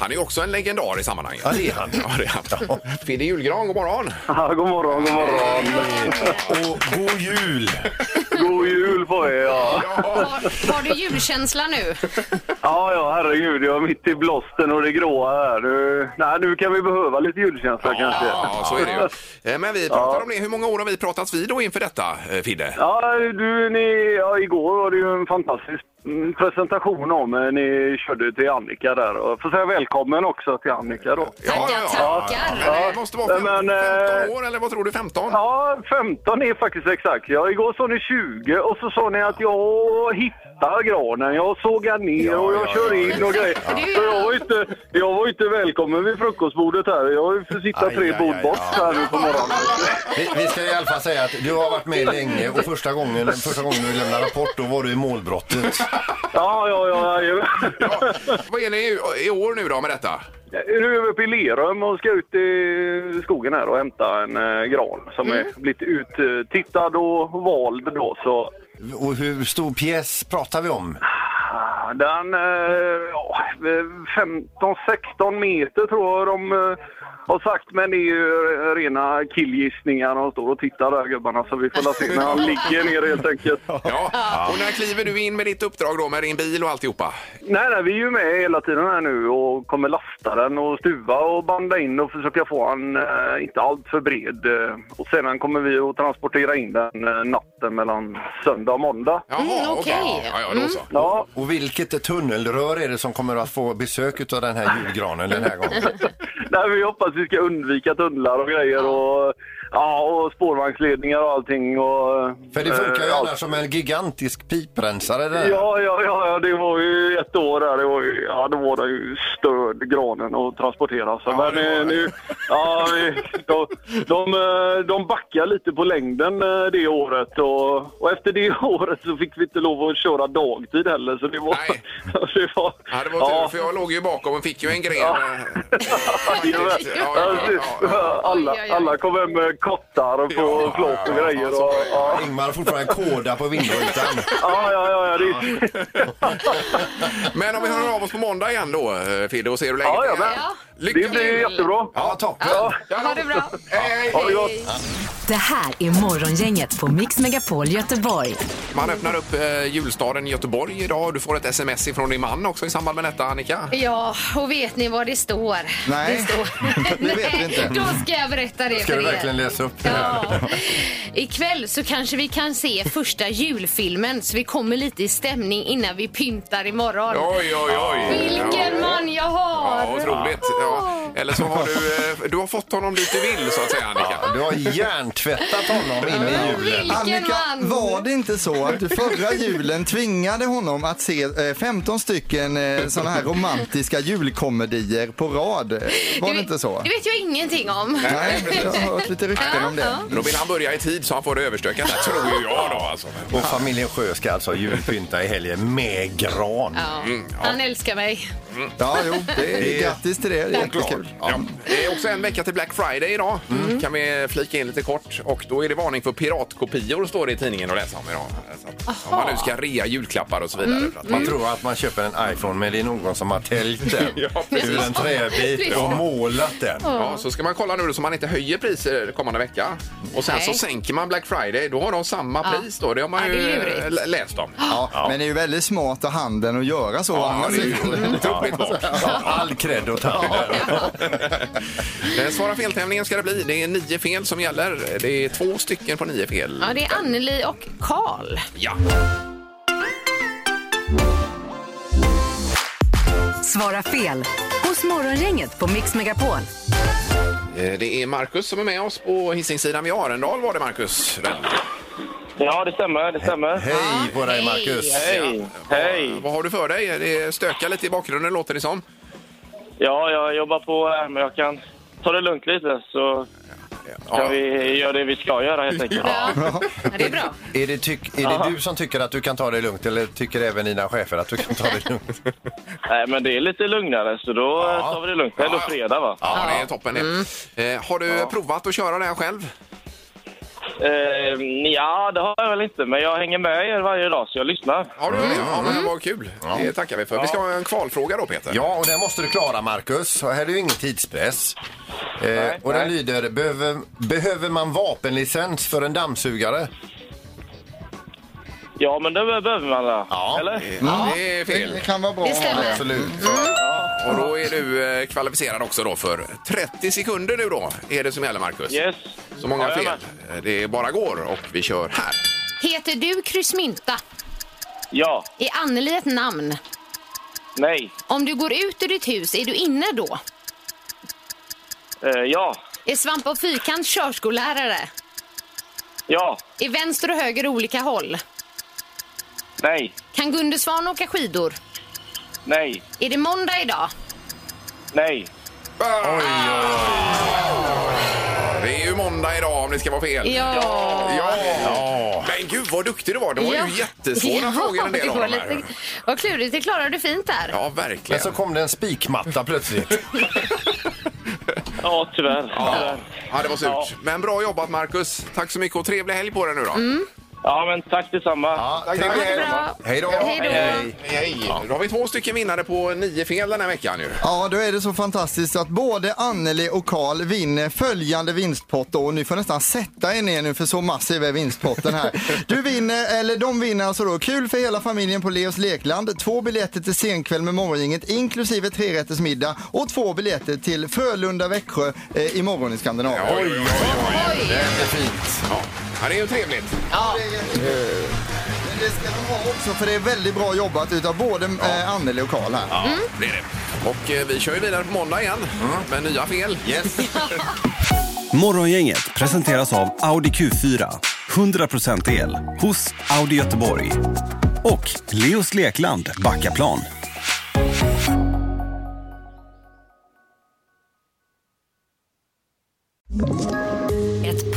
S3: Han är ju också en legendar i sammanhanget.
S4: Ja, det är han.
S3: Ja, det är han. Fidde Julgran, god morgon!
S1: Ja, god morgon, god morgon.
S4: Och god jul!
S1: God jul på er, ja.
S5: Har, har du julkänsla nu?
S1: Ja, ja, herregud. Jag är mitt i blåsten och det gråa här. Nu, nej, nu kan vi behöva lite julkänsla kanske.
S3: Ja, så är det ju. Eh, Men vi pratar om det. Hur många år har vi pratats vid då inför detta, eh, Fidde?
S1: Ja, du, ni, ja, igår var det ju en fantastisk mm, presentation om er. Ni körde till Annika där. Och jag får säga välkommen också till Annika då.
S5: Tackar, tackar.
S3: Men det måste vara fem,
S1: Men, eh,
S3: 15 år, eller vad tror du? 15?
S1: Ja, 15 är faktiskt exakt. Ja, igår sa ni 20 och så sa ni att jag hittar granen, jag sågar ner och jag kör in och grejer.
S5: Det är-
S1: Så jag var, inte, jag var inte välkommen vid frukostbordet här. Jag får sitta
S4: Aj,
S1: tre
S4: aj,
S1: bord
S4: aj,
S1: bort
S4: ja.
S1: här nu på morgonen.
S4: Vi, vi ska i alla fall säga att du har varit med länge och första gången, första gången du lämnade rapport då var du i målbrottet.
S1: Ja, ja, ja. ja.
S3: Vad är ni i- i år nu då med detta?
S1: Nu är vi uppe i Lerum och ska ut i skogen här och hämta en eh, gran som är blivit uttittad och vald då. Så
S4: Och hur stor pjäs pratar vi om?
S1: Ja, Den, eh, ja, 15-16 meter tror jag de eh, Och sagt, men det är ju rena killgissningar. De står och tittar där gubbarna så vi får la se när han ligger ner helt enkelt.
S3: Ja. Och när kliver du in med ditt uppdrag då med din bil och alltihopa?
S1: Nej, nej, vi är ju med hela tiden här nu och kommer lasta den och stuva och banda in och försöka få han eh, inte allt för bred. Eh, och sedan kommer vi att transportera in den eh, natten mellan söndag och måndag.
S3: Jaha,
S5: Mm, okej.
S3: Ja, ja, då så.
S1: Ja,
S4: Och vilket tunnelrör är det som kommer att få besök av den här julgranen den här gången?
S1: nej, vi hoppas vi ska undvika tunnlar och grejer och, ja, och spårvagnsledningar och allting. Och,
S4: För det funkar ju
S1: eh,
S4: annars som en gigantisk piprensare där.
S1: Ja, ja, ja, ja, det var ju ett år där. Det var ju, ja, då var den ju störd, granen, och transportera. Så,
S3: Ja,
S1: men
S3: det var
S1: eh,
S3: det.
S1: nu, ja, vi, de, de, eh, de backade lite på längden eh, det året. Och, och efter det året så fick vi inte lov att köra dagtid heller. Så det var...
S3: Nej.
S1: det var,
S3: Ja, det var tur, för jag låg ju bakom och fick ju en gren. eh, faktiskt.
S1: Ja,
S3: Ja, ja, ja, ja.
S1: alla,
S5: Oj, oj, oj.
S1: alla kom hem med kottar och
S3: Ja,
S1: på
S3: ja,
S1: plåt
S3: ja,
S1: och
S3: ja,
S1: grejer.
S3: så
S1: Och,
S3: var det.
S1: ja,
S4: Ingmar har fortfarande en kåda på vindrutan.
S3: Alltså,
S1: ja, ja, ja, ja, det,
S3: Men om vi hör av oss på måndag igen då, eh, Fidde, och ser hur läget
S1: Ja, ja,
S3: är.
S1: men- det blir jättebra.
S4: Ja, toppen.
S5: Ha det bra.
S3: Hej,
S1: Ha
S3: hej.
S1: det gott!
S2: Det här är Morgongänget på Mix Megapol Göteborg.
S3: Man öppnar upp eh, julstaden i Göteborg idag. Du får ett sms ifrån din man också i samband med detta, Annika.
S5: Ja, och vet ni vad det står?
S6: Nej.
S5: det, står...
S6: Det vet vi inte.
S5: Då ska jag berätta det
S4: Ska
S5: för
S4: du verkligen
S5: er.
S4: läsa upp det här?
S5: Ja. Ikväll så kanske vi kan se första julfilmen så vi kommer lite i stämning innan vi pyntar imorgon.
S3: Oj, oj, oj.
S5: Vilken man jag har!
S3: Ja, otroligt. Ja. Eller så har du, eh, du har fått honom dit du vill, så att säga, Annika.
S4: Du har hjärntvättat honom in i julen.
S5: Vilken
S6: Annika,
S5: man!
S6: var det inte så att du förra julen tvingade honom att se eh, 15 stycken eh, sådana här romantiska julkomedier på rad? Var det inte så?
S5: Det vet jag ingenting om.
S6: Nej, jag har hört lite rykten om det.
S3: Då vill han börja i tid så han får det överstökat. Det tror ju jag då alltså.
S4: Och familjen Sjö ska alltså julpynta i helgen med gran.
S5: Ja. Han älskar mig.
S6: Ja, jo, det är, grattis till det. Det är Mm. jättekul.
S3: Ja. Det är också en vecka till Black Friday idag. Kan vi flika in lite kort. Och då är det varning för piratkopior står det i tidningen att läsa om idag. Så att, om man nu ska rea julklappar och så vidare.
S6: Mm.
S3: För att man
S4: Man tror att man köper en iPhone men det är någon som har täljt den
S3: Ja, precis.
S4: ur en träbit och målat den.
S3: Ja, så ska man kolla nu då, så man inte höjer priser kommande vecka. Och sen
S5: Nej.
S3: så sänker man Black Friday, då har de samma
S5: Ja.
S3: pris då. Det har man
S5: Ja, det är
S3: ju
S5: lurigt.
S3: eh, lä- läst om.
S6: Ja, men det är ju väldigt smart av handeln att göra så. å andra
S3: Ja, det är ju
S6: sidan.
S3: otroligt bra.
S4: All cred åt ja.
S3: Eh, Svara fel-tävlingen ska det bli. Det är nio fel som gäller. Det är två stycken på nio fel.
S5: Ja, det är Anneli och Karl.
S3: Ja.
S2: Svara fel hos Morgongänget på Mix Megapol.
S3: Eh, Det är Markus som är med oss på Hisingssidan vid Arendal var det Markus.
S7: Ja, det stämmer. Det stämmer.
S4: Hej på dig Marcus!
S7: Hej! Hej!
S3: Vad har du för dig? Det stökar lite i bakgrunden låter det som.
S7: Ja, jag jobbar på här, men jag kan ta det lugnt lite så kan
S3: Ja.
S7: vi göra det vi ska göra helt enkelt.
S5: Ja. Ja, det är bra.
S4: Är det, tyck, är det du som tycker att du kan ta det lugnt eller tycker även dina chefer att du kan ta det lugnt?
S7: Nej, men det är lite lugnare så då eh,
S4: Ja.
S7: tar vi det lugnt. Det är ändå
S3: Ja, ja.
S7: fredag va?
S3: Ja, det är toppen det. Eh, har du provat att köra det här själv?
S7: Eh, ja, det har jag väl inte, men jag hänger med er varje dag så jag lyssnar.
S3: Har du det? Mm. Ja, men vad kul. Det tackar vi för. Vi ska ha en kvalfråga då Peter.
S4: Ja, och den måste du klara Marcus. Och Här är ju ingen tidspress. Eh, och den lyder, behöver, behöver man vapenlicens för en dammsugare?
S7: Ja, men det behöver man va?
S4: Ja.
S7: Eller?
S3: Ja, Det är
S6: Det
S3: fel.
S6: kan vara bra.
S5: Det stämmer.
S4: Absolut.
S5: Mm.
S3: Och då är du eh, kvalificerad också då för 30 sekunder nu då är det som gäller Marcus.
S7: Yes.
S3: Så många
S7: Ja, jag är
S3: fel.
S7: med.
S3: Eh, Det bara går och vi kör här.
S5: Heter du kryssmynta?
S7: Ja.
S5: Är Anneli ett namn?
S7: Nej.
S5: Om du går ut ur ditt hus, är du inne då?
S7: Eh, ja.
S5: Är Svamp och Fyrkant körskollärare?
S7: Ja.
S5: Är vänster och höger olika håll?
S7: Nej.
S5: Kan Gunde Svan åka skidor?
S7: Nej.
S5: Är det måndag idag?
S7: Nej.
S3: Ah! Det är ju måndag idag om det ska vara fel.
S5: Ja.
S3: Ja. Men gud vad duktig du var. Det var
S5: Ja.
S3: ju jättesvåra
S5: Ja,
S3: frågor en del
S5: det
S3: av
S5: var
S3: de här.
S5: lite- Vad klurigt, det klarade du fint där.
S3: Ja,
S4: Men
S3: verkligen.
S4: så kom det en spikmatta plötsligt.
S7: Ja, tyvärr. tyvärr.
S3: Ja, det var surt.
S7: Ja.
S5: Mm.
S3: Men bra jobbat Marcus. Tack så mycket och trevlig helg på dig nu då.
S7: Ja, men tack detsamma.
S4: Ja,
S3: Tack,
S4: trevlig
S3: tack.
S4: helg.
S5: Bra.
S4: Hej då.
S5: Hej då.
S3: Hej! Då har vi två stycken vinnare på nio fel den här veckan ju.
S6: Ja, då är det så fantastiskt att både Anneli och Karl vinner följande vinstpott då. Och ni får nästan sätta er ner nu för så massiv är vinstpotten här. Du vinner, eller de vinner alltså då, kul för hela familjen på Leos Lekland. Två biljetter till senkväll med Morgongänget inklusive trerättersmiddag och två biljetter till Frölunda-Växjö eh, imorgon i Skandinavien.
S3: Oj, oj, oj.
S4: Det är fint.
S3: Ja, Ja, det är ju trevligt.
S6: Det är jättekul. Men det ska de ha också för det är väldigt bra jobbat utav både eh, Anneli och Karl här.
S3: Ja, det är det. Och eh, vi kör ju vidare på måndag igen med nya fel.
S4: Yes.
S11: Morgongänget presenteras av Audi Q4. 100% el hos Audi Göteborg. Och Leos Lekland Backaplan.
S9: Ett